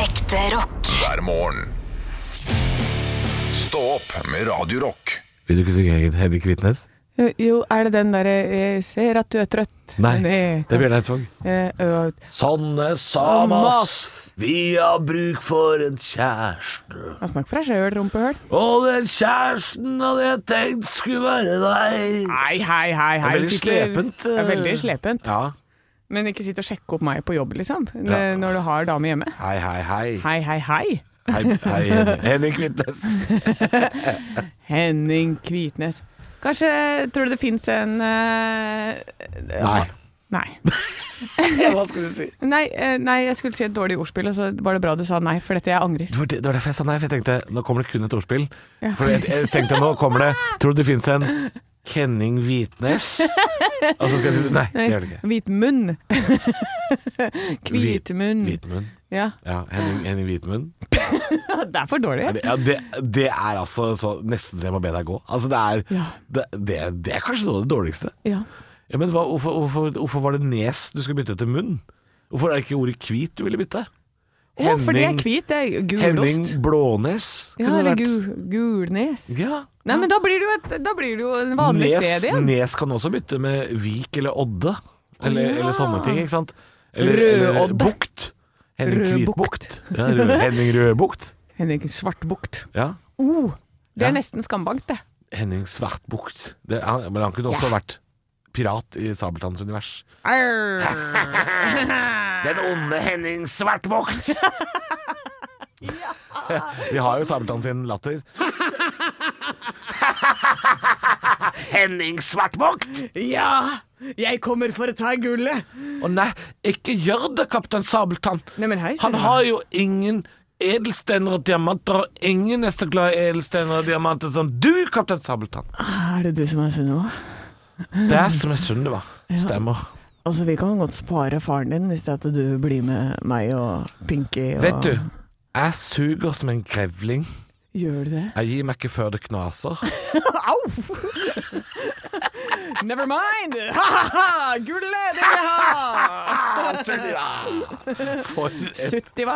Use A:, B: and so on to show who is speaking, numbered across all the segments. A: Ekte rock.
B: hver morgen. Stå opp med Radio Rock.
C: Vil du ikke synge egen Henrik Kvitnes?
D: Jo, Jo, er det den derre eh, 'Ser at du er trøtt'?
C: Nei,
D: Men
C: det er Bjørn Eidsvåg.
D: eh, ø-
C: Sånne
D: Samas,
C: vi har bruk for en kjæreste.
D: Han snakker for deg sjøl, rumpehøl.
C: Og den kjæresten hadde jeg tenkt skulle være deg.
D: Nei, hei, hei, hei.
C: Det er veldig
D: sitter-
C: slepent,
D: Det er
C: eh.
D: veldig slepent.
C: Ja,
D: Men ikke sitt og sjekke opp meg på jobb, liksom. N- Når du har dame hjemme.
C: hei, hei, hei.
D: Hei, hei, hei.
C: Hei, hei Henrik- Henrik Kvitnes.
D: Henning Kvitnes. Kanskje Tror du det fins en eh,
C: Nei.
D: Nei.
C: Hva skal du si?
D: Nei, eh, nei, jeg skulle si et dårlig ordspill, og så var det bra du sa nei, for dette jeg angrer.
C: Det var, det, det var derfor jeg sa nei, for jeg tenkte nå kommer det kun et ordspill. For jeg, jeg tenkte nå kommer det Tror du det finnes en Kenning Hvitnes? Og så skal jeg si nei, det gjør det ikke.
D: Hvitmunn. Hvitmunn.
C: Hvitmunn.
D: Ja.
C: Ja, Henning, Henning Hvitmunn.
D: Det er for dårlig.
C: Ja, det, det er altså så nesten så jeg må be deg gå. Altså det er,
D: Ja.
C: det, det, det er kanskje noe av det dårligste.
D: Ja.
C: Ja, men hva, hvorfor, hvorfor, hvorfor var det nes du skulle bytte til munn? Hvorfor er det ikke ordet hvit du ville bytte?
D: Ja, for det er hvit. Det er
C: Henning
D: gulost.
C: Blånes
D: Ja,
C: kunne
D: eller
C: det vært.
D: gu, gulnes.
C: Ja.
D: Nei, men da blir det jo, et, da blir det jo en vanlig
C: nes,
D: sted igjen.
C: Nes kan også bytte med Vik eller Odde, eller,
D: Ja.
C: eller sånne ting, ikke sant?
D: Rødodde.
C: Bukt. Henning
D: Rødbukt.
C: Kvitbukt. Ja, rød, Henning Rødbukt.
D: Henrik Svartbukt.
C: Ja.
D: Oh, det
C: Ja.
D: er nesten skambankt, det.
C: Henning Svartbukt. Det, han, men han kunne også vært pirat i Sabeltanns univers. Den onde Henning Svartbukt! Vi har jo Sabeltann sin latter. Henning Svartbukt!
D: Ja, jeg kommer for å ta gullet.
C: Å nei, ikke gjør det, kaptein Sabeltann.
D: Nei, men hei,
C: Han
D: Sabeltann.
C: har jo ingen edelstener og diamanter, og ingen er så glad i edelstener og diamanter som du, kaptein Sabeltann.
D: Er det du som er sunn nå?
C: Det er som er Sunniva. Stemmer.
D: Altså, vi kan godt spare faren din hvis det er at du blir med meg og Pinky. Og
C: Vet du, jeg suger som en grevling.
D: Gjør du det?
C: Jeg gir meg ikke før det knaser.
D: Au! Never mind! Ha-ha-ha! Gullet, det vil jeg ha!
C: For et
D: Suttiva.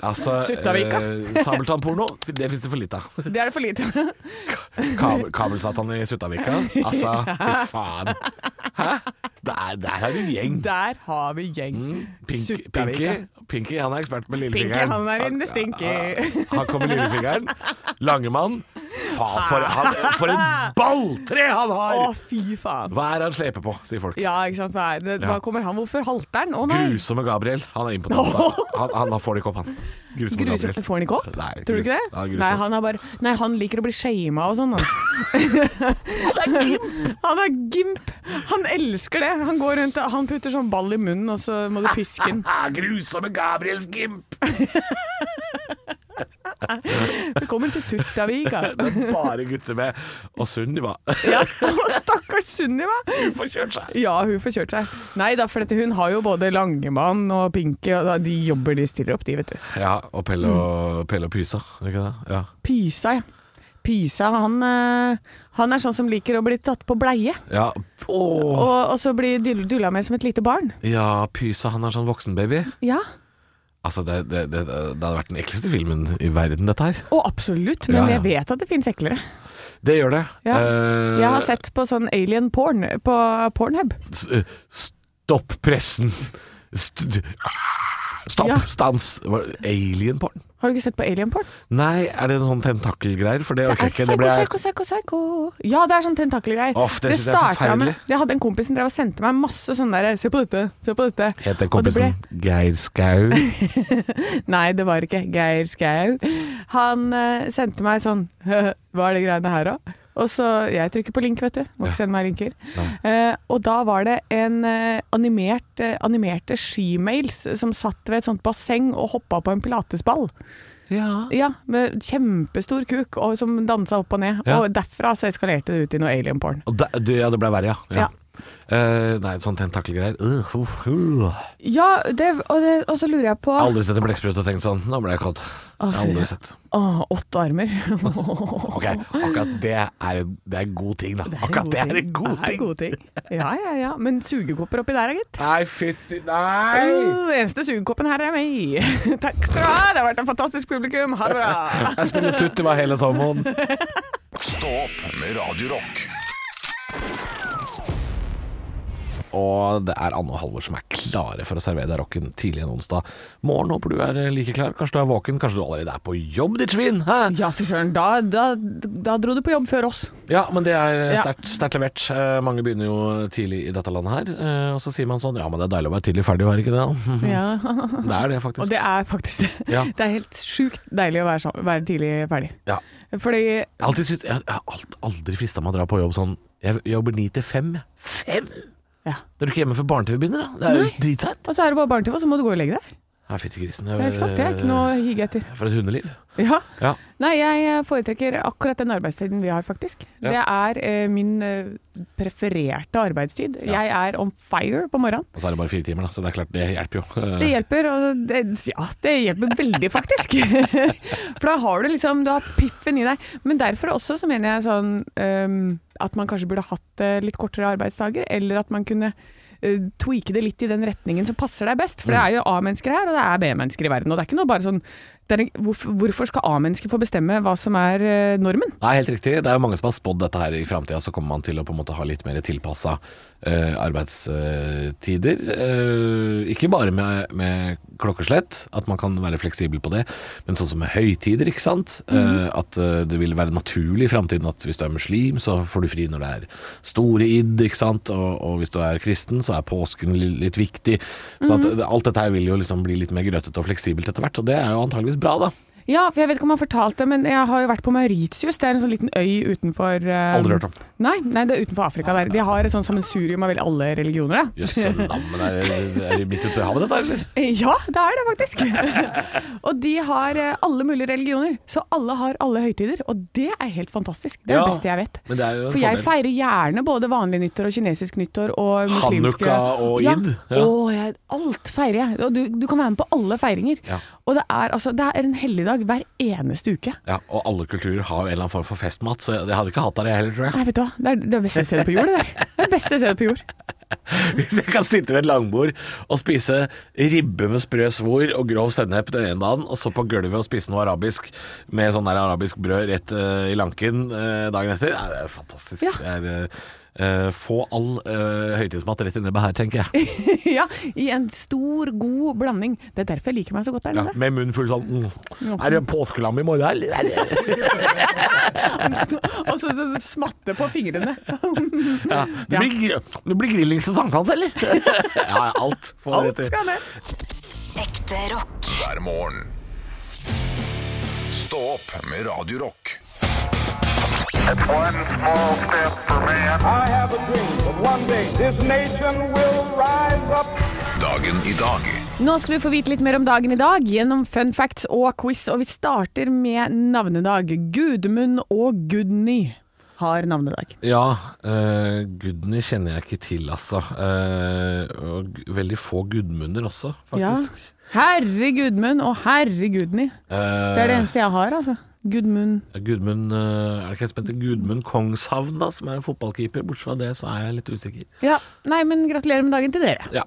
C: altså,
D: Suttavika.
C: eh, Sabeltannporno, det fins det for lite av.
D: Det er det for lite.
C: Kabel, kabelsatan i Suttavika. Altså, fy faen. Hæ? Der, der er du gjeng.
D: Der har vi gjeng.
C: Pink, Pinky,
D: Suttavika.
C: Pinky, han er ekspert med
D: Pinky,
C: lillefingeren.
D: han er in the stinky.
C: Han, han kommer med lillefingeren. Langemann. Faen, for, han, for et balltre han
D: Å,
C: har!
D: fy faen.
C: Hva er det han sleper på, sier folk.
D: Ja, ikke sant. Hva, er det? Hva
C: Ja.
D: kommer han? Hvorfor halter han? Å nei.
C: Grusomme Gabriel. Han er impotent. Han, han, han får det ikke opp, han. Grusomme
D: Grus.
C: Gabriel.
D: Får han ikke opp?
C: Nei,
D: Tror du ikke
C: grus-
D: det?
C: Ja, grusomt.
D: nei, han er bare Nei, han liker å bli shama og sånn. Han. han er gimp! Han elsker det. Han går rundt og Han putter sånn ball i munnen, og så må du piske den.
C: Ah, grusomme Gabriels gimp!
D: Velkommen til Suttaviga.
C: Det er bare gutter med. Og Sunniva.
D: Ja, og stakkars Sunniva!
C: Hun får kjørt seg.
D: Ja, hun får kjørt seg. Nei da, for dette, hun har jo både Langemann og Pinky, og da- de jobber, de stiller opp, de, vet du.
C: Ja, og Pelle og, Pelle og Pysa. er Ikke det? Ja.
D: Pysa, ja. Pysa, han, eh, han er sånn som liker å bli tatt på bleie,
C: Ja. Åh.
D: og, og så blir dull- dulla med som et lite barn.
C: ja, Pysa han er sånn voksenbaby.
D: Ja,
C: Altså, det, det, det, det hadde vært den ekleste filmen i verden, dette her.
D: og absolutt, men
C: Ja, ja.
D: jeg vet at det finnes eklere.
C: Det gjør det.
D: Ja.
C: Eh,
D: Jeg har sett på sånn alien porn på Pornhub.
C: s- eh, Stopp pressen. St ah, Stopp!
D: Ja.
C: Stans! Var det Alienporn?
D: Har du ikke sett på alien porn?
C: Nei, er det noen sånn tentakelgreier? For det
D: Det
C: orker
D: er
C: jeg ikke.
D: psyko,
C: Det ble jeg
D: psyko, psyko, psyko. Ja, det er sånn tentakelgreier.
C: Uff, det synes jeg er
D: startet
C: forferdelig.
D: med- Jeg hadde en kompis som drev og sendte meg masse sånn derre Se på dette, se på dette.
C: Het den
D: Og det ble-
C: kompisen Geir Skau?
D: Nei, det var ikke Geir Skau. Han eh, sendte meg sånn Hva er det greiene her, da? Og så Jeg trykker på link, vet du. Må
C: Ja.
D: ikke sende meg linker.
C: Nei.
D: Eh, og da var det en eh, animert, eh, animerte skimails som satt ved et sånt basseng og hoppa på en pilatesball.
C: Ja.
D: Ja, med kjempestor kuk og som dansa opp og ned.
C: Ja.
D: Og derfra så eskalerte det ut i noe alien porn.
C: Og da, du, ja, det ble verre, ja.
D: Ja.
C: Eh, nei, sånn tentakelgreier. Uh, uh, uh.
D: Ja, det, og, det, og så lurer jeg på Åh,
C: Aldri sett en blekksprut og tenkt sånn. Nå ble jeg kåt.
D: Å, fy.
C: Aldri sett.
D: åtte armer.
C: Ok, akkurat det er, det er en god ting, da.
D: Det er en
C: Akkurat
D: god
C: det er en
D: ting.
C: god
D: Det er
C: ting.
D: gode ting. Ja, ja, ja. Men sugekopper oppi der, gitt.
C: Nei, fytti Nei!
D: Den eneste sugekoppen her er meg. Takk skal du ha, det har vært en fantastisk publikum. Ha det bra.
C: Jeg spiller sutt, det var hele sommeren.
B: Stå opp med Radio Rock.
C: Og det er Anne og Halvor som er klare for å servere deg rocken tidlig en onsdag morgen. Håper du er eh, like klar. Kanskje du er våken, kanskje du allerede er på jobb, ditt svin. Hæ?
D: Ja, fy søren. Da, da, da dro du på jobb før oss.
C: Ja, men det er
D: Ja.
C: sterkt sterkt levert. Eh, mange begynner jo tidlig i dette landet her. Eh, og så sier man sånn Ja, men det er deilig å være tidlig ferdig, er det ikke det?
D: Ja.
C: Det er det,
D: Og
C: faktisk.
D: det er faktisk det.
C: Mhm. Ja.
D: Det er helt sjukt deilig å være, sam- være tidlig ferdig.
C: Ja.
D: Fordi
C: Jeg har alltid syntes- Jeg jeg har alt- aldri frista meg å dra på jobb sånn Jeg jobber ni til fem. jeg. Fem?!
D: Ja.
C: Da er du ikke hjemme før barne-TV begynner, da. Det er jo
D: Nei.
C: dritseint.
D: Og så er det bare barne-TV, og så må du gå og legge deg.
C: Nei, fytti grisen. Eh,
D: Ja, ikke sant? Det er ikke noe å hige etter.
C: For et hundeliv.
D: Ja.
C: Ja.
D: Nei, jeg eh, foretrekker akkurat den arbeidstiden vi har, faktisk. Det er eh, min eh, prefererte arbeidstid. Jeg er on fire på morgenen.
C: Og så er det bare fire timer, da, så det er klart, det hjelper jo. Eh,
D: Det hjelper, og det, ja, det hjelper veldig faktisk. For da har du liksom, du har piffen i deg. Men derfor også så mener jeg sånn øhm, at man kanskje burde hatt eh, litt kortere arbeidsdager, eller at man kunne eh, tweake det litt i den retningen som passer deg best.
C: Mm.
D: For det er jo A-mennesker her, og det er B-mennesker i verden. Og det er ikke noe bare sånn det er en, hvorfor, hvorfor skal A-mennesker få bestemme hva som er eh, normen?
C: Nei, helt riktig. Det er jo mange som har spådd dette her i framtida, så kommer man til å på en måte ha litt mer tilpassa arbeidstider. Eh, ikke bare med, med klokkeslett, at man kan være fleksibel på det, men sånn som med høytider, ikke sant. Eh, at eh, det vil være naturlig i framtiden at hvis du er muslim, så får du fri når det er store id, ikke sant. Og, og hvis du er kristen, så er påsken li- litt viktig. Så at, det- alt dette her vil jo liksom bli litt mer grøtete og fleksibelt etter hvert, og det er jo antageligvis bra, da.
D: Ja, for jeg vet ikke om jeg har fortalt det, men jeg har jo vært på Mauritius. Det er en sånn liten øy utenfor eh,
C: Aldri hørt om.
D: Nei, nei, det er utenfor Afrika der. De har et sånn sammensurium av vel alle religioner, da.
C: Jøss, men er, er det midt ute i havet dette, her, eller?
D: Ja, det er det faktisk. og de har eh, alle mulige religioner, så alle har alle høytider. Og det er helt fantastisk. Det er
C: Ja,
D: det beste jeg vet.
C: men det er jo en
D: For jeg
C: fordel.
D: feirer gjerne både vanlig nyttår og kinesisk nyttår og muslimske
C: Hanukka og id, ja.
D: Ja. Å, jeg, alt feirer jeg. Og du, du kan være med på alle feiringer.
C: Ja.
D: Og det er, altså, det er en helligdag hver eneste uke.
C: Ja, og alle kulturer har jo en eller annen form for festmat, så jeg hadde ikke hatt det jeg heller, tror jeg.
D: Nei, vet du hva. Det er det er beste stedet på jord, det der. Det er det beste stedet på jord.
C: Hvis jeg kan sitte ved et langbord og spise ribbe med sprø svor og grov sennep den ene dagen, og så på gulvet og spise noe arabisk med sånn der arabisk brød rett eh, i lanken eh, dagen etter, ja, det er fantastisk.
D: Ja.
C: Det er, eh, eh, få all eh, høytidsmat rett i nebbet her, tenker jeg.
D: ja, i en stor, god blanding. Det er derfor jeg liker meg så godt der
C: Ja,
D: nede.
C: med munnen full sånn mm. Er det påskelam i morgen, eller?
D: Og så, så smatte på fingrene.
C: Ja, det, blir, gr- det blir grillings til sankthans, eller? ja, alt. Få det
D: Alt
C: rett i.
D: skal ned.
A: Ekte rock.
B: hver morgen. Stå opp med Radio Rock.
E: One small step for man.
F: I have a dream that one day this nation will rise up.
B: Dagen i dag
D: Nå skal du få vite litt mer om dagen i dag gjennom fun facts og quiz, og vi starter med navnedag. Gudmund og Gudny har navnedag.
C: Ja, uh, Gudny kjenner jeg ikke til, altså. Eh, og g- veldig få Gudmunder også, faktisk.
D: Herre Gudmund og herre Gudny.
C: Eh,
D: Det er det eneste jeg har, altså. Gudmund
C: Gudmund, eh, er det ikke en som heter Gudmund Kongshavn, da, som er en fotballkeeper? Bortsett fra det, så er jeg litt usikker.
D: Ja, nei, men gratulerer med dagen til dere.
C: Ja.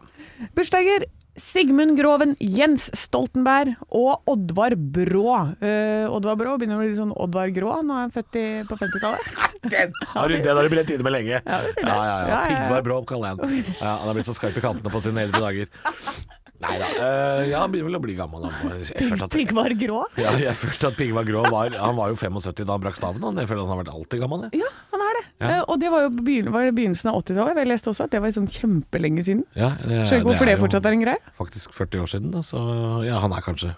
D: Bursdager. Sigmund Groven, Jens Stoltenberg og Oddvar Brå. Eh, Oddvar Brå begynner å bli litt sånn Oddvar Grå, han er han født i, på 50-tallet.
C: Har du, den har du brent inne med lenge. Ja,
D: det sier det.
C: ja, ja,
D: Ja, ja, ja.
C: Pigvar Brå kaller jeg han. Ja, han har blitt så skarp i kantene på sine eldre dager. Nei da. ja, han begynner vel å bli gammel. Han. Jeg følte at
D: Pigvar Grå?
C: ja, jeg følte at Pigvar Grå var Han var jo 75 da han brakk staven. Han. Jeg føler at han har vært alltid gammel. Jeg.
D: Ja, han er det. Eh, og det var jo begyn var det begynnelsen av 80-tallet. Jeg leste også at det var sånn kjempelenge siden.
C: Ja, eh, det,
D: Skjønner ikke hvorfor det
C: jo
D: fortsatt er en greie.
C: Faktisk 40 år siden, da, så ja, han er kanskje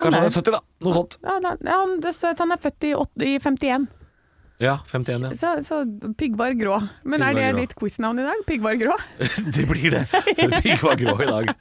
C: Kanskje han er,
D: er-
C: 70, da. Noe sånt.
D: Ja, han, er- ja, han, det står at han er født i, åt- i 51.
C: Ja, 51, ja.
D: Så, så Piggvar grå. Men
C: Piggvar
D: er det
C: Grå.
D: ditt quiznavn i dag? Piggvar grå?
C: Det blir det. Pigg var grå i dag.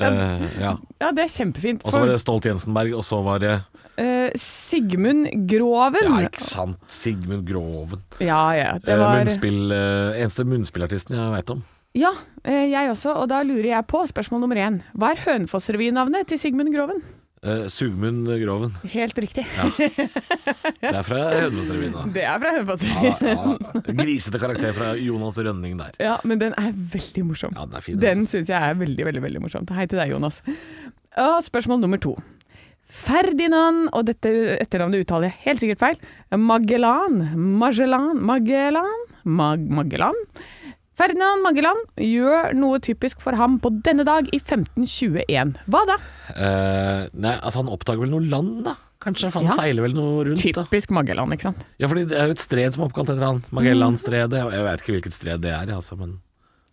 C: Eh, ja.
D: Ja, det er kjempefint.
C: Og så var
D: For
C: det Stolt Jensenberg, og så var det
D: eh, Sigmund Groven
C: Ja, ikke sant. Sigmund Groven.
D: Ja, ja. Det
C: Eh,
D: var
C: Munnspill, eh, eneste munnspillartisten jeg veit om.
D: Ja, eh, jeg også. Og da lurer jeg på spørsmål nummer én. Hva er Hønefoss-revynavnet til Sigmund Groven?
C: Eh, Sugmund Groven.
D: Helt riktig.
C: Det er fra Hønefossrevyen. da.
D: Det er fra Hønefoss-revyen.
C: Ja, ja. Grisete karakter fra Jonas Rønning der.
D: Ja, men den er veldig morsom.
C: Ja, den er fin, den,
D: Den
C: altså.
D: syns jeg er veldig, veldig veldig morsomt. Hei til deg, Jonas. Og spørsmål nummer to. Ferdinand, og dette etternavnet uttaler jeg helt sikkert feil, Magellan, Magellan, Magellan, Mag Magellan. Ferdinand Magellan gjør noe typisk for ham på denne dag i 1521. Hva da?
C: Eh, nei, altså han oppdager vel noe land, da? Kanskje? For han
D: Ja.
C: seiler vel noe rundt? da
D: Typisk Magellan, ikke sant?
C: Ja, fordi det er jo et stred som er oppkalt etter han. Magellanstredet. og Jeg vet ikke hvilket stred det er, altså, men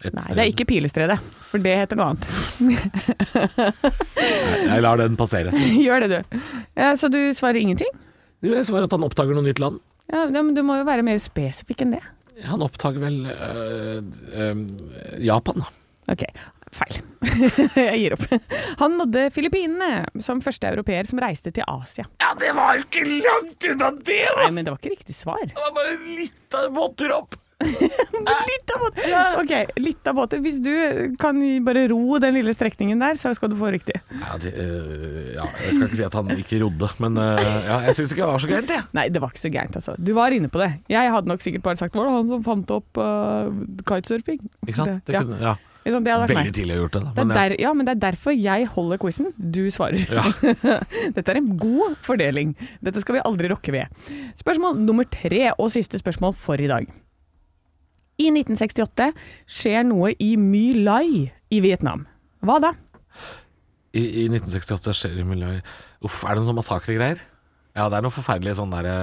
C: et
D: Mm. Nei,
C: stred.
D: det er ikke Pilestredet, for det heter noe annet.
C: Jeg lar den passere.
D: Gjør det, du. Eh, Så du svarer ingenting?
C: Jo, Jeg svarer at han oppdager noe nytt land.
D: Ja, men du må jo være mer spesifikk enn det.
C: Han oppdager vel øh, øh, Japan, da.
D: Ok, feil. Jeg gir opp. Han nådde Filippinene som første europeer som reiste til Asia.
C: Ja, det var jo ikke langt unna det,
D: Nei, men det var ikke riktig svar.
C: var bare en liten båttur opp.
D: Litt av båten! Ok, litt av båten. Hvis du kan bare ro den lille strekningen der, så skal du få riktig.
C: Ja, det, øh, ja, jeg skal ikke si at han ikke rodde, men øh, ja, jeg syns ikke det var så gærent, jeg.
D: Nei, det var ikke så gærent, altså. Du var inne på det. Jeg hadde nok sikkert bare sagt Var det han som fant opp uh, kitesurfing?
C: Ikke sant? Det kunne, ja.
D: ja. Ikke sant, det hadde vært
C: Veldig
D: meg.
C: tidlig å ha gjort det, da.
D: Det er
C: Men, ja.
D: der, ja, men det er derfor jeg holder quizen. Du svarer. Dette er en god fordeling. Dette skal vi aldri rokke ved. Spørsmål nummer tre, og siste spørsmål for i dag. I 1968 skjer noe i My Lai i Vietnam. Hva da?
C: I, I 1968 skjer det miljø... Uff, er det noen sånn massakregreier? Ja, det er noe forferdelig sånn derre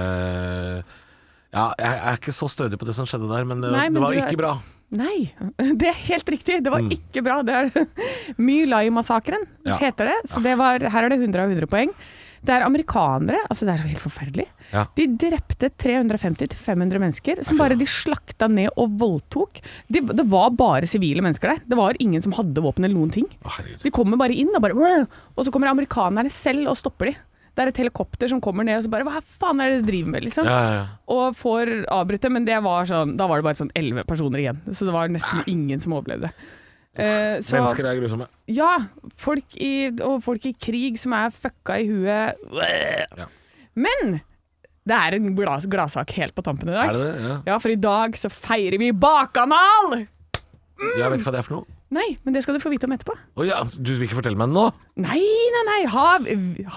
C: Ja, jeg, jeg er ikke så stødig på det som skjedde der, men det,
D: Nei, men
C: det var
D: du er-
C: ikke bra.
D: Nei, det er helt riktig. Det var ikke bra. Det er My Lai-massakren
C: Mm. Ja. Ah.
D: heter det. Så det var, her er det 100 av 100 poeng. Det er amerikanere, altså det er så helt forferdelig.
C: Ja.
D: De drepte 350-500 mennesker som bare de slakta ned og voldtok. De, det var bare sivile mennesker der. Det var ingen som hadde våpen eller noen ting.
C: Å, herregud.
D: De kommer bare inn og bare «Wow!» Og så kommer amerikanerne selv og stopper de. Det er et helikopter som kommer ned og så bare Hva faen er det dere driver med, liksom?
C: Ja, ja, ja.
D: og får avbryte, men det var sånn, da var det bare sånn elleve personer igjen. Så det var nesten ingen som overlevde. Eh,
C: Ah.
D: så,
C: Mennesker er grusomme.
D: Ja. Folk i, og folk i krig som er fucka i huet. Øh.
C: Ja.
D: Men det er en glas, gladsak helt på tampen i dag.
C: Er det det? Ja.
D: Ja, for i dag så feirer vi bakanal!
C: Jeg vet ikke hva det er for noe.
D: Nei, men det skal du få vite om etterpå.
C: Å ja, du vil ikke fortelle meg det nå?
D: Nei, nei, nei. Ha,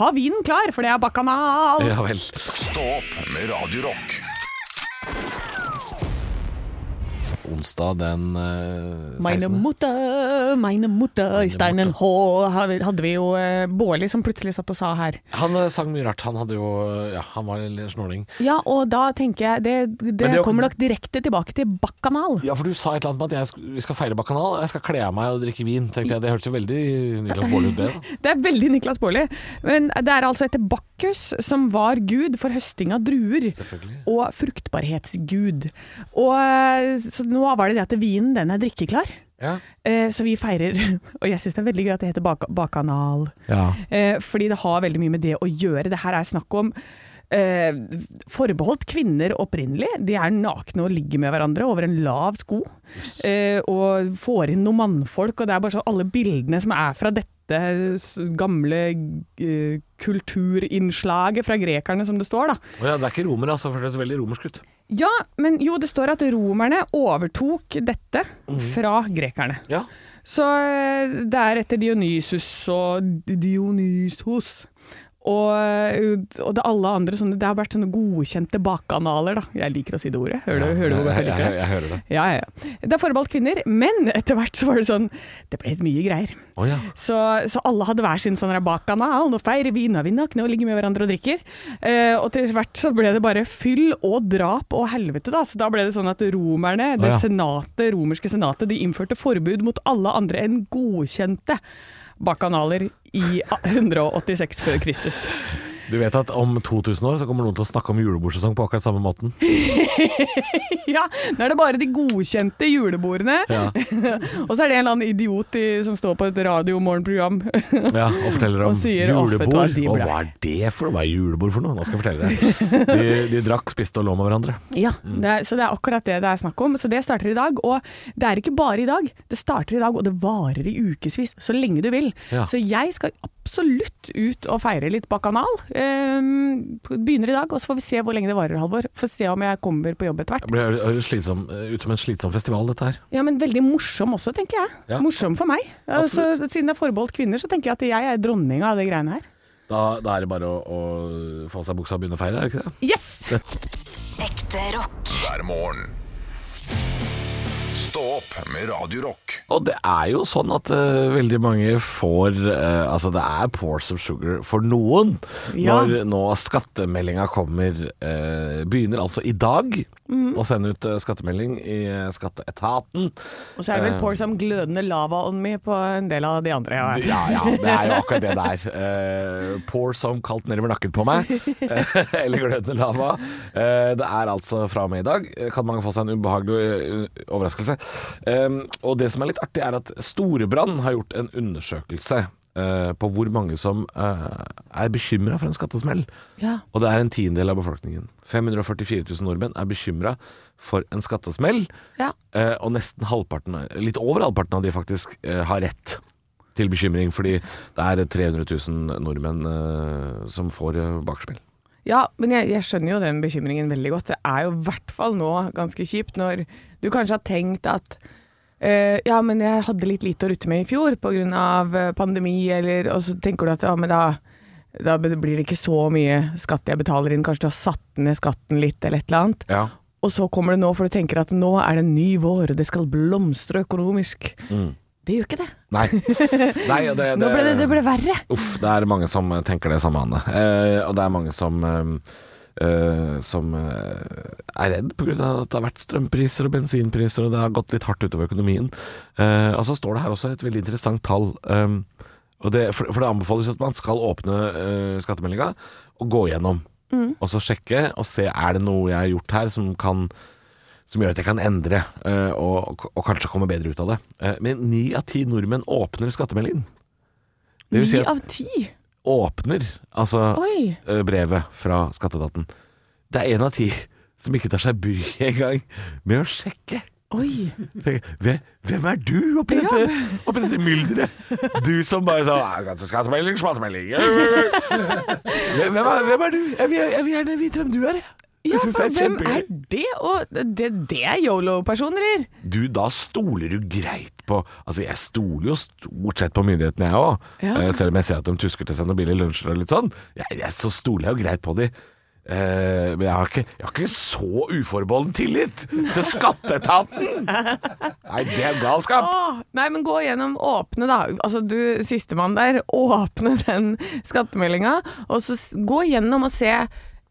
D: ha vinen klar, for det er bakanal.
C: Ja vel.
B: Stå opp med Radio Rock.
C: Onsdag den eh,
D: Meine
C: 16.
D: Mutter, meine Mutter, i steinen H hadde vi jo eh, Bårli som plutselig satt og sa her.
C: Han eh, sang mye rart. Han hadde jo Ja, han var en liten snåling.
D: Ja, og da tenker jeg Det, det,
C: Men det-
D: kommer nok direkte tilbake til Bakkanal.
C: Ja, for du sa et eller annet med at jeg, sk- vi skal feire Bacchanal, og jeg skal kle av meg og drikke vin. Tenkte jeg, Det hørtes jo veldig Niklas Baarli ut, det. da
D: Det er veldig Niklas Bårli. Men det er altså etter Bakkus, som var gud for høsting av druer.
C: Selvfølgelig.
D: Og fruktbarhetsgud. Og eh, så nå var det det at vinen, den er drikkeklar.
C: Ja.
D: Eh, Så vi feirer, og jeg syns det er veldig gøy at det heter bak Bakkanal.
C: ja.
D: Eh, fordi det har veldig mye med det å gjøre. Det her er snakk om eh, forbeholdt kvinner opprinnelig. De er nakne og ligger med hverandre over en lav sko. Eh, og får inn noen mannfolk, og det er bare sånn alle bildene som er fra dette. s- gamle eh, kulturinnslaget fra grekerne, som det står, da.
C: Å ja, det er ikke romer, altså, for det høres veldig romersk ut.
D: Ja, men jo, det står at romerne overtok dette fra grekerne.
C: Ja.
D: Så eh, det er etter Dionysus og Dionysos. Og, eh, og det er alle andre sånne Det har vært sånne godkjente bakkanaler, da. Jeg liker å si det ordet. Hører du, hører du hvor godt jeg liker det?
C: jeg hører det.
D: Ja, ja. ja. Det er forbeholdt kvinner, men etter hvert så var det sånn Det ble mye greier.
C: Å ja.
D: Så, så alle hadde hver sin sånn bakkanal. Nå feirer vi, nå er vi nakne og ligger med hverandre og drikker. Eh, og til hvert så ble det bare fyll og drap og helvete, da. Så da ble det sånn at romerne, det
C: ja.
D: senatet, romerske senatet, de innførte forbud mot alle andre enn godkjente bakkanaler i a- 186 før Kristus.
C: Du vet at om 2000 år så kommer noen til å snakke om julebordsesong på akkurat samme måten.
D: Ja, nå er det bare de godkjente julebordene.
C: Ja,
D: Og så er det en eller annen idiot i, som står på et radiomorgenprogram.
C: ja Og forteller om
D: Og sier, «Å, vet du
C: julebord.
D: hva, de
C: og
D: ble-
C: hva er det for noe? Hva er julebord for noe? Nå skal jeg fortelle deg. De, de drakk, spiste og lå med hverandre.
D: ja,
C: Mm.
D: det er, så det er akkurat det det er snakk om. Så det starter i dag. Og det er ikke bare i dag. Det starter i dag, og det varer i ukevis. Så lenge du vil.
C: Ja.
D: Så jeg skal absolutt ut og feire litt bakanal. Ehm, begynner i dag, og så får vi se hvor lenge det varer, Halvor. Får se om jeg kommer på jobb etter hvert.
C: Det ble- høres slitsom, ut som en slitsom festival, dette her.
D: Ja, men veldig morsom også, tenker jeg.
C: Ja.
D: Morsom for meg. Ja, så, siden det er forbeholdt kvinner, så tenker jeg at jeg er dronninga av det greiene her.
C: Da, da er det bare å, å få av seg buksa og begynne å feire, er det ikke det?
D: Yes!
A: Ekte rock.
B: hver morgen. Stå opp med Radio Rock.
C: Og det er jo sånn at eh, veldig mange får eh, Altså, det er pores of sugar for noen
D: Ja.
C: når nå skattemeldinga kommer. eh, begynner altså i dag å sende ut eh, skattemelding i eh, skatteetaten.
D: Og så er
C: eh,
D: det vel pour som glødende lava on me på en del av de andre. Ja.
C: Ja, ja, det er jo akkurat det der. Uh, pour som kaldt nedover nakken på meg. Eh, eller glødende lava. Eh, det er altså fra og med i dag. eh, Kan mange få seg en ubehagelig eh, overraskelse. Eh, og det som er litt artig, er at Storebrand har gjort en undersøkelse. eh, På hvor mange som eh, er bekymra for en skattesmell.
D: Ja.
C: Og det er en tiendedel av befolkningen. 544 000 nordmenn er bekymra for en skattesmell.
D: Ja.
C: Eh, og nesten halvparten, litt over halvparten av de faktisk, eh, har rett til bekymring. Fordi det er 300 000 nordmenn eh, som får eh, bakspill.
D: Ja, men jeg, jeg skjønner jo den bekymringen veldig godt. Det er jo i hvert fall nå ganske kjipt når du kanskje har tenkt at eh, ja, men jeg hadde litt lite å rutte med i fjor pga. eh, pandemi, eller Og så tenker du at ja, men da, da blir det ikke så mye skatt jeg betaler inn, kanskje du har satt ned skatten litt eller et eller annet.
C: Ja.
D: Og så kommer det nå, for du tenker at nå er det en ny vår, og det skal blomstre økonomisk. Det gjør ikke det.
C: Nei. Nei og Mm. det,
D: Nå ble det, det ble verre.
C: Uff, det er mange som tenker det samme, Anne. Eh, og det er mange som eh, eh, som eh, er redd pga. at det har vært strømpriser og bensinpriser, og det har gått litt hardt utover økonomien. Eh, og så står det her også et veldig interessant tall. eh, og det, for, for det anbefales at man skal åpne uh, skattemeldinga og gå gjennom. Og så sjekke og se er det noe jeg har gjort her som kan som gjør at jeg kan endre eh, og, og kanskje komme bedre ut av det. Eh, men ni av ti nordmenn åpner skattemeldingen. Det
D: Ni
C: vil si at-
D: av ti.
C: åpner altså
D: Oi.
C: eh, brevet fra skatteetaten. Det er én av ti som ikke tar seg bryet engang med å sjekke.
D: Oi.
C: Tenker, Hvem hvem er du oppi dette, oppi dette mylderet? Du som bare sa «Ja, Skattemelding, skattemelding Hvem hvem er, hvem er du? Jeg vil, jeg vil gjerne vite hvem du er. jeg.
D: Ja,
C: Jeg synes
D: for
C: det er
D: hvem
C: kjempegøy.
D: er det? Og det, det er yolo-person, eller?
C: Du, da stoler du greit på Altså, jeg stoler jo stort sett på myndighetene, jeg òg.
D: Ja.
C: selv om jeg ser at de tusker til seg noen billige lunsjer og litt sånn. Jeg, jeg, så stoler jeg jo greit på de. Eh, men jeg har, ikke, jeg har ikke så uforbeholden tillit til skatteetaten! Nei, det er galskap!
D: Åh, nei, men gå gjennom åpne, da. Altså du, sistemann der, åpne den skattemeldinga, og så s- gå gjennom og se.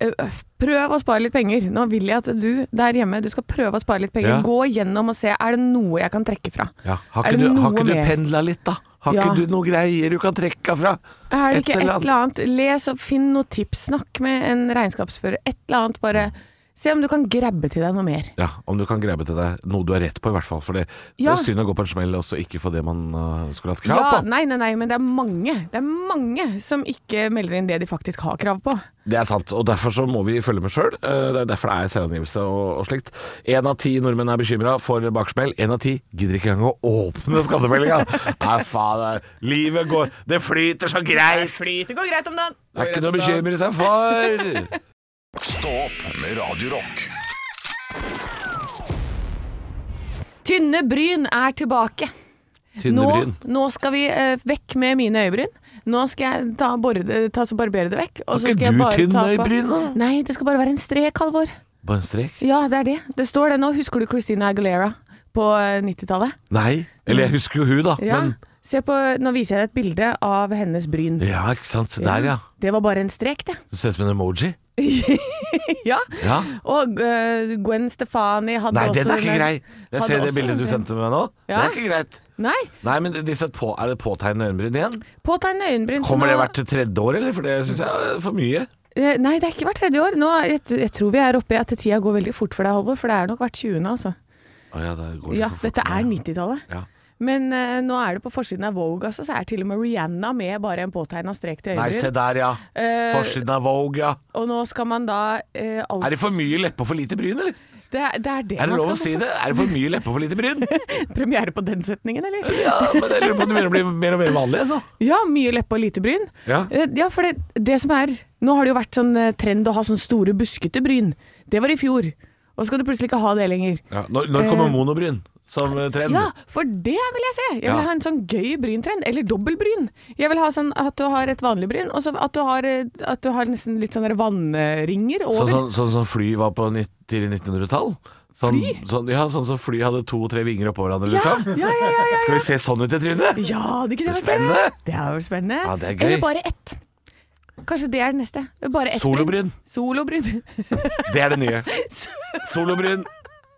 D: øh, øh, Prøv å spare litt penger. Nå vil jeg at du der hjemme Du skal prøve å spare litt
C: Ja.
D: penger. Gå gjennom og se. Er det noe jeg kan trekke fra?
C: Ja, har
D: Er
C: ikke
D: det
C: du, har
D: noe
C: ikke du
D: mer?
C: pendla litt, da? Har
D: Ja.
C: ikke du noe greier du kan trekke fra?
D: Er det ikke et eller annet? Les og finn noe tips. Snakk med en regnskapsfører. Et eller annet. Bare se om du kan grabbe til deg noe mer.
C: Ja, Om du kan grebe til deg noe du har rett på, i hvert fall. For det,
D: Ja.
C: det er synd å gå på en smell og så ikke få det man eh, skulle hatt krav
D: Ja,
C: på.
D: nei, nei, nei, men det er mange Det er mange som ikke melder inn det de faktisk har krav på.
C: Det er sant, og derfor så må vi følge med sjøl. Det er derfor det er selvangivelse og, og slikt. Én av ti nordmenn er bekymra for baksmell. Én av ti gidder ikke engang å åpne skattemeldinga. Nei, faen. det- Livet går Det flyter så greit.
D: Det går greit om dagen.
C: Det er ikke noe å bekymre seg for.
B: Stå opp med Radio Rock
D: Tynne bryn er tilbake. Nå,
C: Tynne bryn.
D: nå skal vi eh, vekk med mine øyebryn. Nå skal jeg ta, bore, det- ta så barbere det vekk. Og
C: Har
D: så
C: ikke
D: skal jeg
C: du
D: bare
C: tynne
D: ta på-
C: øyebryn, da?
D: Nei, det skal bare være en strek, Halvor.
C: Bare en strek?
D: Ja, det er det. Det står det nå. Husker du Christina Aguilera på eh, 90-tallet?
C: Nei. Eller jeg husker jo hun, da.
D: Mm. Ja.
C: Men
D: Se på, nå viser jeg deg et bilde av hennes bryn.
C: Ja, ikke sant. Se der, ja.
D: Det var bare en strek, det.
C: Det ser ut som en emoji.
D: ja.
C: Ja.
D: Og eh, Gwen Stefani hadde
C: Nei,
D: også
C: den er ikke
D: der-
C: grei. Jeg
D: hadde
C: ser det
D: også
C: bildet
D: den
C: du
D: der.
C: sendte meg nå. Det
D: Ja.
C: er ikke greit.
D: Nei,
C: Nei, men disse på, Er det påtegnede øyenbryn igjen?
D: påtegne øyenbryn. så
C: Kommer det
D: nå-
C: hvert tredje år, eller? For det syns jeg er for mye.
D: Eh, Nei, det er ikke hvert tredje år. Nå, jeg, jeg tror vi er oppe i at tida går veldig fort for deg, Halvor, for det er nok hvert 20. altså.
C: Å ja, det går
D: Ja,
C: for fort
D: dette
C: nå,
D: er
C: ja.
D: 90-tallet.
C: Ja.
D: Men eh, nå er det på forsiden av Vogue, altså, så er til og med Rihanna med bare en påtegna strek til
C: Nei, se
D: øyenbryn.
C: der, ja.
D: Eh,
C: Forsiden av Vogue, ja.
D: Og nå skal man da eh, altså
C: Er det for mye leppe og for lite bryn, eller?
D: Det er det, er det
C: Er det
D: man
C: lov å si
D: skal
C: det? Er det for mye leppe og for lite bryn?
D: Premiere på den setningen, eller?
C: Ja, men jeg lurer på om det begynner å bli mer og mer vanlig altså. nå.
D: Ja, mye leppe og lite bryn.
C: Ja.
D: Eh, ja for det, det som er Nå har det jo vært sånn eh, trend å ha sånn store, buskete bryn. Det var i fjor. Og så skal du plutselig ikke ha det lenger.
C: Ja, når, når kommer
D: Eh,
C: monobryn som eh, trend?
D: Ja, for det vil jeg se. Jeg vil
C: Ja.
D: ha en sånn gøy bryntrend. Eller dobbeltbryn. Jeg vil ha sånn at du har et vanlig bryn, og så at du har, eh, at du har nesten litt sånne vannringer over.
C: Sånn som sånn, som fly var på nitt- tidlig 1900-tall? Sånn,
D: Fly?
C: Sånn, ja, sånn som fly hadde to-tre vinger oppå hverandre,
D: ja,
C: liksom?
D: ja, ja, ja, ja,
C: Skal
D: ja.
C: vi se sånn ut i trynet?
D: ja, det er ikke det. vært
C: Spennende!
D: gøy? Det er vel spennende.
C: Ja, det er gøy.
D: Eller bare ett. Kanskje det er det neste. Bare ett
C: Solobryn.
D: bryn. Solobryn.
C: Det er det nye. Solobryn.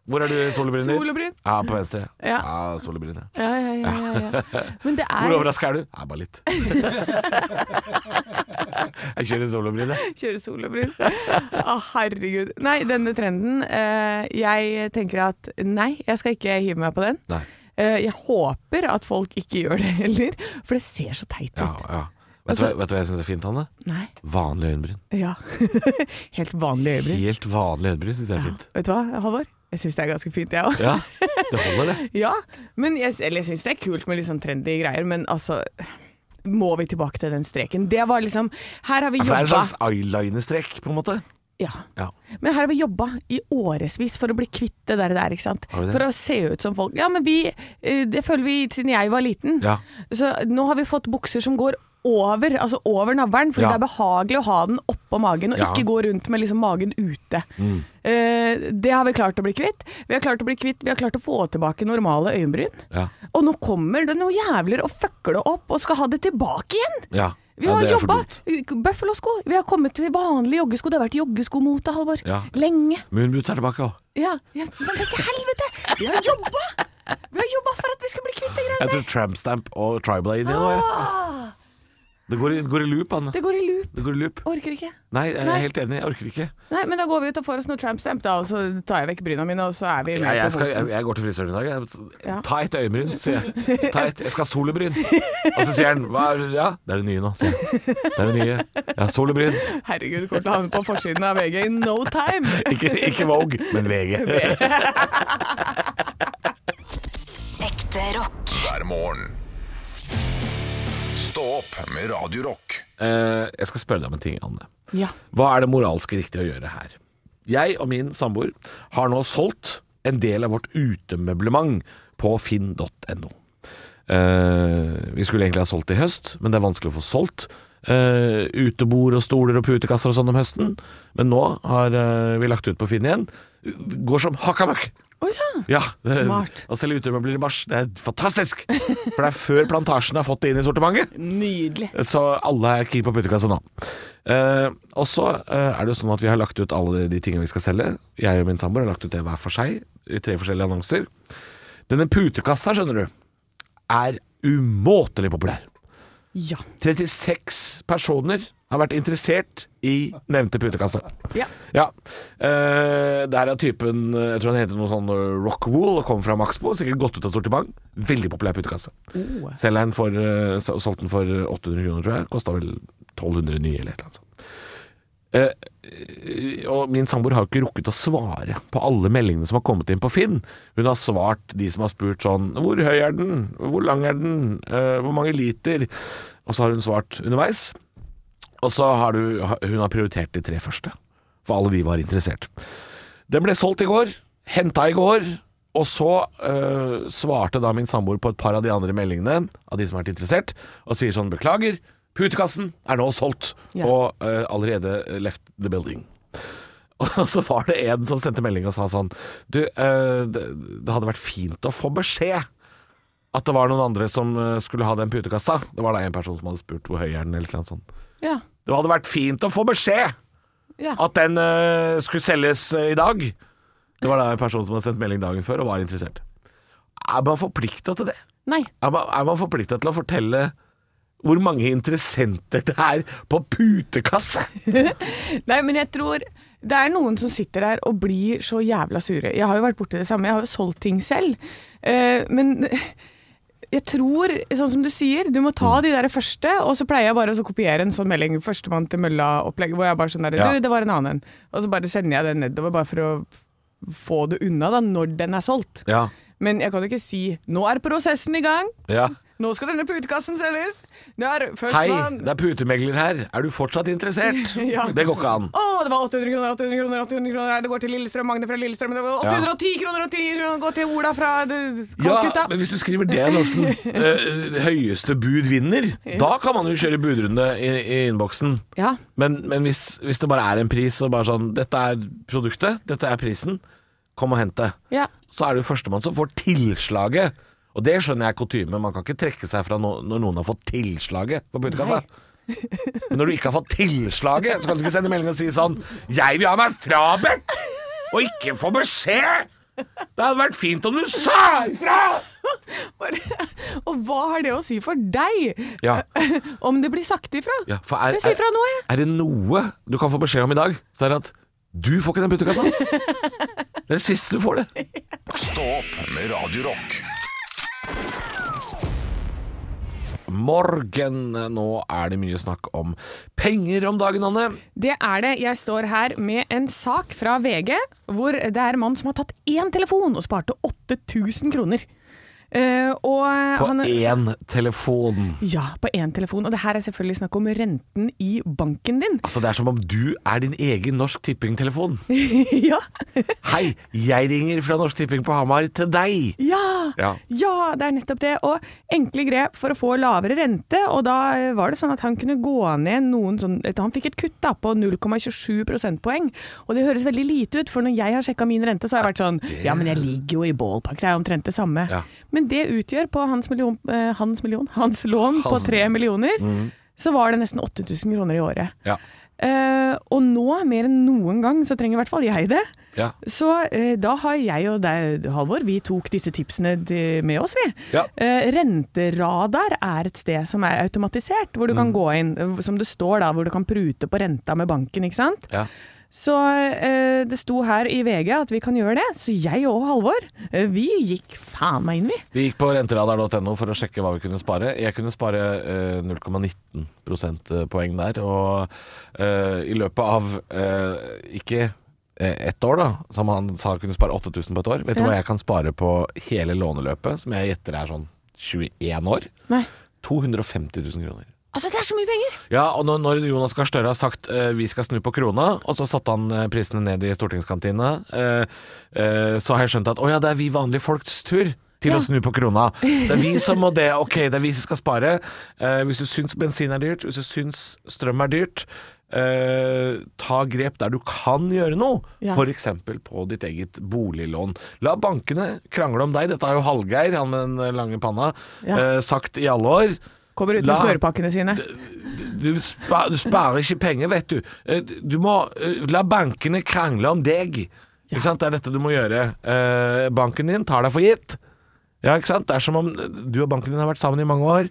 C: Hvor er du i solobrynet ditt?
D: Solobryn.
C: Ja, på venstre.
D: Ja.
C: Ja, solobrynet.
D: Ja, ja, ja, ja, ja. Men det
C: Hvor
D: er
C: overraska er du? Ja, bare litt. Jeg kjører solobryn, jeg.
D: Kjøre solobryn. Å, herregud. Nei, denne trenden eh, Jeg tenker at nei, jeg skal ikke hive meg på den.
C: Nei.
D: Eh, jeg håper at folk ikke gjør det heller, for det ser så teit ut.
C: Ja, ja. Vet, du, hva- vet du hva jeg syns er fint, Hanne?
D: Nei.
C: Vanlig øyenbryn.
D: Ja. Helt vanlig øyebryn.
C: Helt vanlig øyenbryn syns jeg er fint.
D: Vet du hva, Halvor? Jeg syns det er ganske fint, jeg òg.
C: Ja, det holder, det.
D: Ja, men jeg, eller jeg syns det er kult med litt sånn trendy greier, men altså Må vi tilbake til den streken? Det var liksom Her har vi
C: Ja, for det er en
D: jobba
C: slags eyelinerstrek, på en måte.
D: ja.
C: Ja.
D: Men her har vi jobba i årevis for å bli kvitt det der, der ikke sant?
C: Har vi det?
D: For å se ut som folk. Ja, men vi eh, Det føler vi siden jeg var liten.
C: Ja.
D: Så nå har vi fått bukser som går over, altså over navlen, fordi
C: Ja.
D: det er behagelig å ha den oppå magen, og
C: Ja. Mm.
D: ikke gå rundt med liksom magen ute. Eh, det har vi klart å bli kvitt. Vi har klart å bli kvitt, vi har klart å få tilbake normale øyenbryn.
C: Ja.
D: Og nå kommer det noen jævler og fucker det opp og skal ha det tilbake igjen!
C: Ja.
D: Vi
C: Ja,
D: har
C: det er for
D: jobba
C: dumt.
D: Buffalo-sko. Vi har kommet til vanlige joggesko. Det har vært joggeskomote, Halvor.
C: Ja.
D: Lenge.
C: Moonboots er tilbake òg.
D: Ja. ja. Men det er ikke helvete! Vi har jobba! Vi har jobba for at vi skal bli kvitt det
C: Jeg
D: greiene
C: tror Trampstamp og Tribal er inni nå. jeg.
D: Ah,
C: Det går, i- går i loop, Anne.
D: det går i loop.
C: Det går i loop.
D: Orker ikke.
C: Nei, jeg er
D: Nei.
C: helt enig. Jeg orker ikke.
D: Nei, men da går vi ut og får oss noe tramp stamp, da, og så tar jeg vekk bryna mine, og så er vi
C: Jeg,
D: med
C: jeg,
D: på
C: skal, jeg, jeg går til frisøren i dag. Jeg,
D: Ja.
C: Ta et øyenbryn, sier jeg. Ta et, jeg skal ha solobryn. Og så sier han hva er, Ja, det er det nye nå, sier jeg. Det er det nye. Jeg har solobryn.
D: Herregud, kommer til å havne på forsiden av VG in no time!
C: Ikke, ikke Vogue, men VG.
A: Ekte rock.
B: hver morgen. Stå opp med Radio Rock.
C: Eh, jeg skal spørre deg om en ting, Anne.
D: Ja.
C: Hva er det moralsk riktig å gjøre her? Jeg og min samboer har nå solgt en del av vårt utemøblement på finn.no. Eh, vi skulle egentlig ha solgt det i høst, men det er vanskelig å få solgt. eh, utebord og stoler og putekasser og sånn om høsten. Men nå har eh, vi lagt ut på Finn igjen. Går som hakka møkk!
D: Å ja.
C: Ja, det-
D: Smart.
C: Å selge utemøbler i mars, det er fantastisk! For det er før plantasjen har fått det inn i sortimentet.
D: Nydelig.
C: Så alle er keen på puttekassa nå. Eh, og så eh, er det jo sånn at vi har lagt ut alle de tingene vi skal selge. Jeg og min samboer har lagt ut det hver for seg i tre forskjellige annonser. Denne putekassa, skjønner du, er umåtelig populær.
D: Ja.
C: 36 personer har vært interessert i nevnte putekassa.
D: Ja.
C: Ja. Eh, der er typen eh, Jeg tror han heter noe sånn eh, Rockwool og kommer fra Maxbo. Sikkert gått ut av sortiment. Veldig populær putekasse.
D: Oh.
C: Selger den for eh, sol- Solgte den for 800 kroner, tror jeg. Kosta vel 1200 nye eller et eller annet sånt. Eh, eh, og min samboer har jo ikke rukket å svare på alle meldingene som har kommet inn på Finn. Hun har svart de som har spurt sånn Hvor høy er den? Hvor lang er den? Eh, hvor mange liter? Og så har hun svart underveis. Og så har du, ha- hun har prioritert de tre første. For alle de var interessert. Den ble solgt i går, henta i går, og så øh, svarte da min samboer på et par av de andre meldingene av de som har vært interessert, og sier sånn beklager, putekassen er nå solgt,
D: Ja.
C: og øh, allerede left the building. Og så var det en som sendte melding og sa sånn Du, øh, det, det hadde vært fint å få beskjed at det var noen andre som øh, skulle ha den putekassa. Det var da en person som hadde spurt hvor høy er den, eller noe sånt.
D: Ja.
C: Det hadde vært fint å få beskjed!
D: Ja.
C: At den eh, skulle selges eh, i dag. Det var da en person som hadde sendt melding dagen før og var interessert. Er man forplikta til det?
D: Nei.
C: Er man, er man forplikta til å fortelle hvor mange interessenter det er på putekasse?
D: Nei, men jeg tror det er noen som sitter der og blir så jævla sure. Jeg har jo vært borti det samme, jeg har jo solgt ting selv. Eh, men jeg tror, sånn som du sier, du må
C: Mm.
D: ta de der første, og så pleier jeg bare å så kopiere en sånn melding, førstemann til mølla-opplegg, hvor jeg bare sånn der,
C: Ja.
D: du, det var en annen en. Og så bare sender jeg den nedover, bare for å få det unna da, når den er solgt.
C: Ja.
D: Men jeg kan jo ikke si, nå er prosessen i gang,
C: ja.
D: nå skal denne putekassen selges, nå er
C: Hei,
D: førstemann.
C: det er putemegler her. Er du fortsatt interessert?
D: Ja.
C: Det går ikke an.
D: Å, det var 800 kroner, 800 kroner, 800 kroner. Nei, Det går til Lillestrøm, Magne fra Lillestrøm. Det var 810 kroner og 10 kroner går til Ola fra eh,
C: Ja,
D: Calcutta.
C: men hvis du skriver det i annonsen eh, Høyeste bud vinner Da kan man jo kjøre budrunde i, i innboksen
D: Ja.
C: Men, men hvis, hvis det bare er en pris Og bare sånn, dette er produktet Dette er prisen Kom og hente
D: Ja.
C: Så er det jo førstemann som får tilslaget Og det skjønner jeg er kutyme Man kan ikke trekke seg fra no når noen har fått tilslaget På putekassa Men når du ikke har fått tilslaget Så kan du ikke sende melding og si sånn Jeg vil ha meg frabedt Og ikke få beskjed Det hadde vært fint om du sa ifra
D: Bare- Og hva har det å si for deg?
C: Ja.
D: Om det blir sagt ifra?
C: Ja, for er,
D: Jeg sier fra nå, jeg.
C: Er det noe du kan få beskjed om i dag, så er det at du får ikke den puttekassa. Det er det siste du får det.
B: Stå opp med Radio Rock.
C: Morgen. eh, Nå er det mye snakk om penger om dagen, Anne.
D: Det er det. Jeg står her med en sak fra VG, hvor det er en mann som har tatt én telefon og sparte 8000 kroner. Eh, og
C: På
D: han,
C: én telefon.
D: ja, på én telefon. Og det her er selvfølgelig snakk om renten i banken din.
C: Altså, det er som om du er din egen Norsk Tipping-telefon.
D: ja.
C: Hei, jeg ringer fra Norsk Tipping på Hamar til deg.
D: Ja,
C: Ja.
D: ja! det er nettopp det. Og enkle grep for å få lavere rente. Og da eh, var det sånn at han kunne gå ned noen sånn et- Han fikk et kutt da på 0,27 prosentpoeng. Og det høres veldig lite ut, for når jeg har sjekka min rente, så har jeg vært sånn Ja, men jeg ligger jo i ballpark, det er omtrent det samme.
C: Ja.
D: Men det utgjør på hans million, eh, hans, million hans lån på
C: Hans- Mm.
D: tre millioner, så var det nesten 8000 kroner i året.
C: Ja.
D: Eh, og nå, mer enn noen gang, så trenger i hvert fall jeg det.
C: Ja.
D: Så eh, da har jeg og deg, Halvor, vi tok disse tipsene de- med oss, vi.
C: Ja.
D: Eh, renteradar er et sted som er automatisert, hvor du
C: Mm.
D: kan gå inn, eh, som det står da, hvor du kan prute på renta med banken, ikke sant?
C: Ja.
D: Så eh, det sto her i VG at vi kan gjøre det, så jeg og Halvor, eh, vi gikk faen meg inn, vi.
C: Vi gikk på renteradar.no for å sjekke hva vi kunne spare. Jeg kunne spare eh, 0,19 prosentpoeng der. Og eh, i løpet av eh, ikke eh, ett år, da, som han sa kunne spare 8000 på et år Vet du
D: Ja.
C: hva jeg kan spare på hele låneløpet, som jeg gjetter er sånn 21 år?
D: Nei.
C: 250 000 kroner.
D: Altså, det er så mye penger!
C: Ja, og når, når Jonas Gahr Støre har sagt eh, 'vi skal snu på krona', og så satte han eh, prisene ned i stortingskantina, eh, eh, så har jeg skjønt at 'å ja, det er vi vanlige folks tur'. Til å snu på krona. Det er vi som må det. Ok, det er vi som skal spare. Eh, hvis du syns bensin er dyrt, hvis du syns strøm er dyrt, eh, ta grep der du kan gjøre noe.
D: Ja.
C: For F.eks. på ditt eget boliglån. La bankene krangle om deg. Dette har jo Hallgeir, han med den lange panna,
D: Ja.
C: eh, sagt i alle år.
D: Kommer ut med
C: La-
D: smørpakkene sine.
C: du, spa, du sparer ikke penger, vet du. Eh, Du må eh, la bankene krangle om deg. Ikke sant? Det er dette du må gjøre. Eh, Banken din tar deg for gitt. Ja, ikke sant? Det er som om eh, du og banken din har vært sammen i mange år.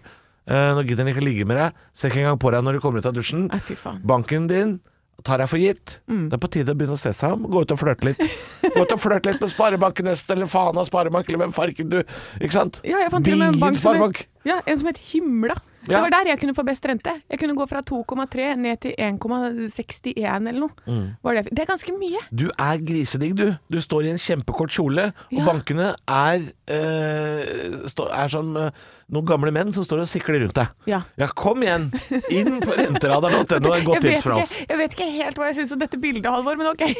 C: Eh, Nå gidder den ikke å ligge med deg. Ser ikke engang på deg når du kommer ut av dusjen.
D: Nei, fy faen.
C: Banken din tar deg for gitt.
D: Mm.
C: Det er på tide å begynne å se seg om. Gå ut og flørte litt. Gå ut og flørte litt med Sparebanken Øst eller Fana sparebank eller hvem farken du Ikke sant?
D: Ja, jeg fant til og med en
C: Bien
D: bank som het,
C: sparebank.
D: ja, en som het Himla.
C: Ja.
D: Det var der jeg kunne få best rente. Jeg kunne gå fra 2,3 ned til 1,61 eller noe.
C: Mm.
D: Var det, det er ganske mye.
C: Du er grisedigg, du. Du står i en kjempekort kjole, og
D: Ja.
C: bankene er, eh, stå, er som eh, noen gamle menn som står og sikler rundt deg.
D: Ja.
C: kom igjen! Inn på renteradar.no, det er et
D: Jeg
C: godt
D: vet,
C: tips fra
D: ikke,
C: oss.
D: jeg vet ikke helt hva jeg syns om dette bildet, Halvor, men ok.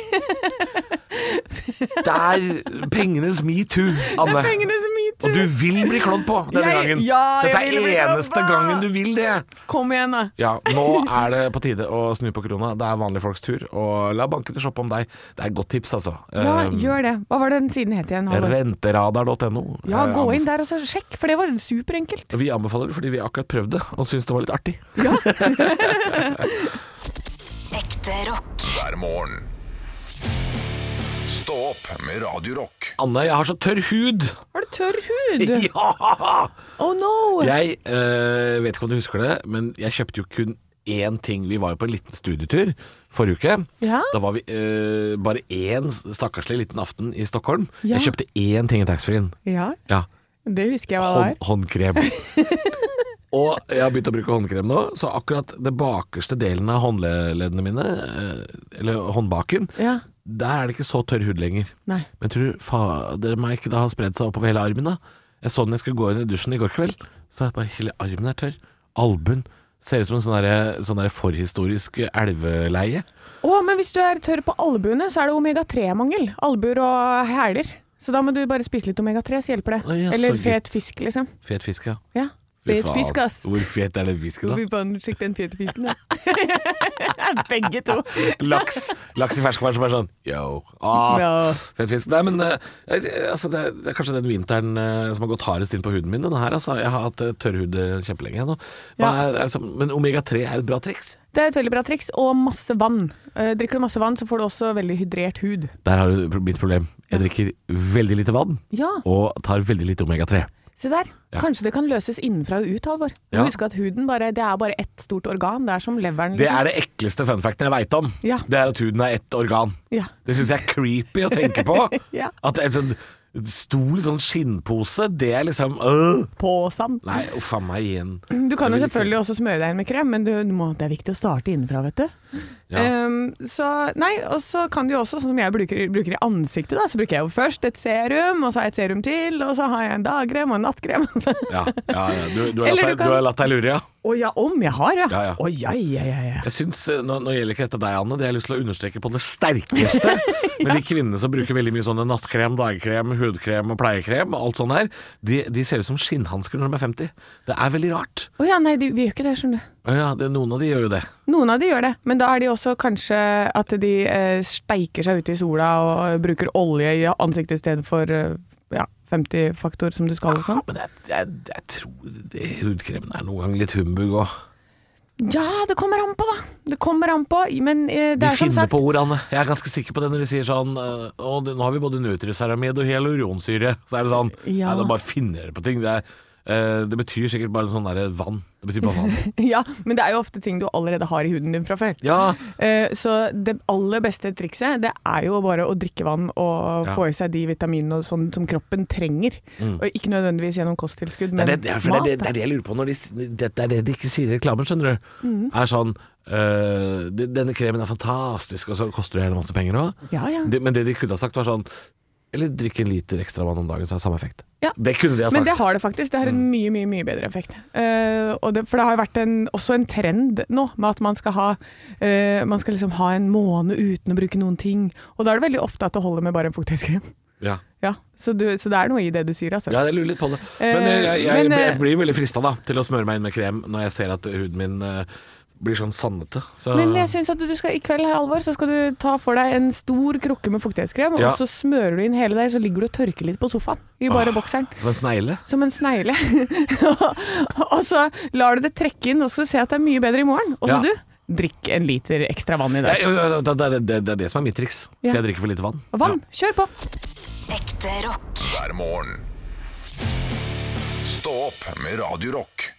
C: Det er pengenes metoo, Anne.
D: Pengene som
C: Og du
D: metoo.
C: vil bli klådd på denne
D: Jeg-
C: gangen.
D: ja, jeg
C: Dette
D: vil bli
C: er
D: klådd
C: eneste
D: på.
C: gangen du vil det.
D: Kom igjen, da.
C: Ja, nå er det på tide å snu på krona. Det er vanlige folks tur. Og la bankene shoppe om deg. Det er et godt tips, altså.
D: Ja,
C: Um,
D: gjør det. Hva var det den siden het igjen, Halvor?
C: Renteradar.no.
D: Ja,
C: Eh,
D: gå inn der og så sjekk, for det var superenkelt.
C: Vi anbefaler det fordi vi akkurat prøvde og syntes det var litt artig.
A: Ekte rock.
B: hver morgen. Stå opp med Radio Rock.
C: Anne, jeg har så tørr hud!
D: Har du tørr hud?
C: Ja!
D: Oh no!
C: Jeg eh, vet ikke om du husker det, men jeg kjøpte jo kun én ting. Vi var jo på en liten studietur forrige uke.
D: Ja.
C: Da var vi eh, bare én stakkarslig liten aften i Stockholm.
D: Ja.
C: Jeg kjøpte én ting i taxfree-en.
D: Ja,
C: Ja.
D: det husker jeg hva det
C: Hånd,
D: er.
C: håndkrem. Og jeg har begynt å bruke håndkrem nå, så akkurat det bakerste delen av håndleddene mine, eh, eller håndbaken,
D: Ja.
C: der er det ikke så tørr hud lenger.
D: Nei.
C: Men tror du fader meg ikke det har spredd seg oppover hele armen, da? Jeg så den jeg skulle gå inn i dusjen i går kveld, så er det bare hele armen er tørr. Albuen ser ut som en sånn derre- sånn derre forhistorisk elveleie.
D: Å, men hvis du er tørr på albuene, så er det omega-3-mangel. Albuer og hæler. Så da må du bare spise litt omega-3, så hjelper det.
C: Å, ja, så
D: Eller
C: gutt.
D: fet fisk, liksom.
C: Fet fisk, ja.
D: Ja.
C: Fy
D: Fet
C: faen,
D: fisk, ass.
C: Hvor fet er den fisken, da?
D: Fy faen, sjekk den fete fisken, da. Begge to.
C: Laks Laks i ferskvann som er sånn yo. Ah,
D: Ja.
C: Fet fisk. Nei, men eh, eh, altså, det, er, det er kanskje den vinteren eh, som har gått hardest inn på huden min. Den her, altså. Jeg har hatt eh, tørr hud eh, kjempelenge nå. Hva
D: Ja.
C: er, er, liksom- men omega-3 er jo et bra triks.
D: Det er et veldig bra triks, og masse vann. Eh, Drikker du masse vann, så får du også veldig hydrert hud.
C: Der har du pro- mitt problem. Jeg drikker veldig lite vann.
D: Ja,
C: og tar veldig lite omega-3.
D: se der.
C: Ja.
D: Kanskje det kan løses innenfra og ut, Halvor. Du
C: Ja.
D: Husk at huden bare, det er bare ett stort organ. Det er som leveren. liksom.
C: Det er det ekleste funfacten jeg veit om.
D: Ja.
C: Det er at huden er ett organ.
D: Ja.
C: Det syns jeg er creepy å tenke på.
D: Ja.
C: At det er en sånn stor sånn skinnpose, det er liksom øh.
D: På sand.
C: Nei, uff a meg igjen.
D: Du kan jo
C: Jeg vil ikke-
D: selvfølgelig også smøre deg inn med krem, men du, du må, det er viktig å starte innenfra, vet du.
C: Ja.
D: Ehm, så, nei, og så kan du jo også, sånn som jeg bruker, bruker i ansiktet, da, så bruker jeg jo først et serum, og så har jeg et serum til, og så har jeg en dagkrem og en nattkrem. og så-
C: Ja, ja, ja. Du, du, har
D: Eller
C: latt
D: du
C: deg,
D: kan-
C: du har latt deg lure, ja.
D: Å ja, om jeg har, ja.
C: Ja, ja.
D: Å ja, ja, ja, ja.
C: Jeg syns, eh, nå, nå gjelder ikke dette deg, Anne, det har jeg lyst til å understreke på det sterkeste. Men de kvinnene som bruker veldig mye sånne nattkrem, dagkrem, hudkrem og pleiekrem, og alt sånt her, de, de ser ut som skinnhansker når de er 50. Det er veldig rart.
D: Å ja, nei, de, vi gjør ikke det, skjønner du.
C: Å Ja, det, noen av de gjør jo det.
D: Noen av de gjør det, men da er de også kanskje at de eh, steiker seg ute i sola og bruker olje i ansiktet i stedet for eh, ja, 50-faktor som du skal og sånn.
C: Men jeg, jeg, jeg tror det hudkremen er noen gang litt humbug òg.
D: Ja, det kommer an på, da. Det kommer an på, men eh, det
C: De
D: er som
C: finner
D: sagt
C: på ord, Anne. Jeg er ganske sikker på det når de sier sånn eh, Å, det, nå har vi både nutriceramid og hyaluronsyre. Så er det sånn
D: Ja.
C: Nei, da bare finner dere på ting. Det, er, eh, det betyr sikkert bare sånn derre vann. Det betyr bare vann.
D: Ja, men det er jo ofte ting du allerede har i huden din fra før.
C: Ja.
D: Eh, Så det aller beste trikset Det er jo bare å drikke vann og
C: Ja. Mm.
D: få i seg de vitaminene og sånn som kroppen trenger. Og ikke nødvendigvis gjennom kosttilskudd,
C: Det
D: men
C: er det, det, er, for det, er det, det er det jeg lurer på når de, s- det, det er det de ikke sier i reklamen, skjønner du.
D: Mm.
C: Er sånn eh, det- Denne kremen er fantastisk, og så koster det hele masse penger òg.
D: Ja, ja.
C: Det- Men det de kunne ha sagt, var sånn Eller drikk en liter ekstra vann om dagen, så har det samme effekt.
D: Ja.
C: Det kunne de ha sagt.
D: Men det har det faktisk. Det har
C: Mm.
D: en mye mye, mye bedre effekt. Eh, og det, for det har jo vært en, også en trend nå med at man skal, ha, eh, man skal liksom ha en måned uten å bruke noen ting. Og da er det veldig ofte at det holder med bare en fuktighetskrem.
C: Ja.
D: Ja, så, du, så det er noe i det du sier, altså.
C: Ja, jeg lurer litt på det.
D: Eh,
C: Men eh, jeg, jeg,
D: men, eh,
C: jeg blir veldig frista da, til å smøre meg inn med krem når jeg ser at huden min eh, blir sånn sandete. Så,
D: Men jeg syns at du skal, i kveld, Alvor, så skal du ta for deg en stor krukke med fuktighetskrem,
C: Ja.
D: og så smører du inn hele deg, så ligger du og tørker litt på sofaen i
C: Ah.
D: bare bokseren.
C: Som en snegle.
D: Som en snegle. og så lar du det trekke inn, og så skal du se at det er mye bedre i morgen. Og så
C: Ja.
D: du, drikk en liter ekstra vann i
C: Ja,
D: dag.
C: ja, ja, øh, Det, det, det, det er det som er mitt triks.
D: Ja.
C: For jeg drikker for lite vann.
D: Vann, kjør på!
A: Ekte rock.
B: hver morgen. Stå opp med Radio Rock.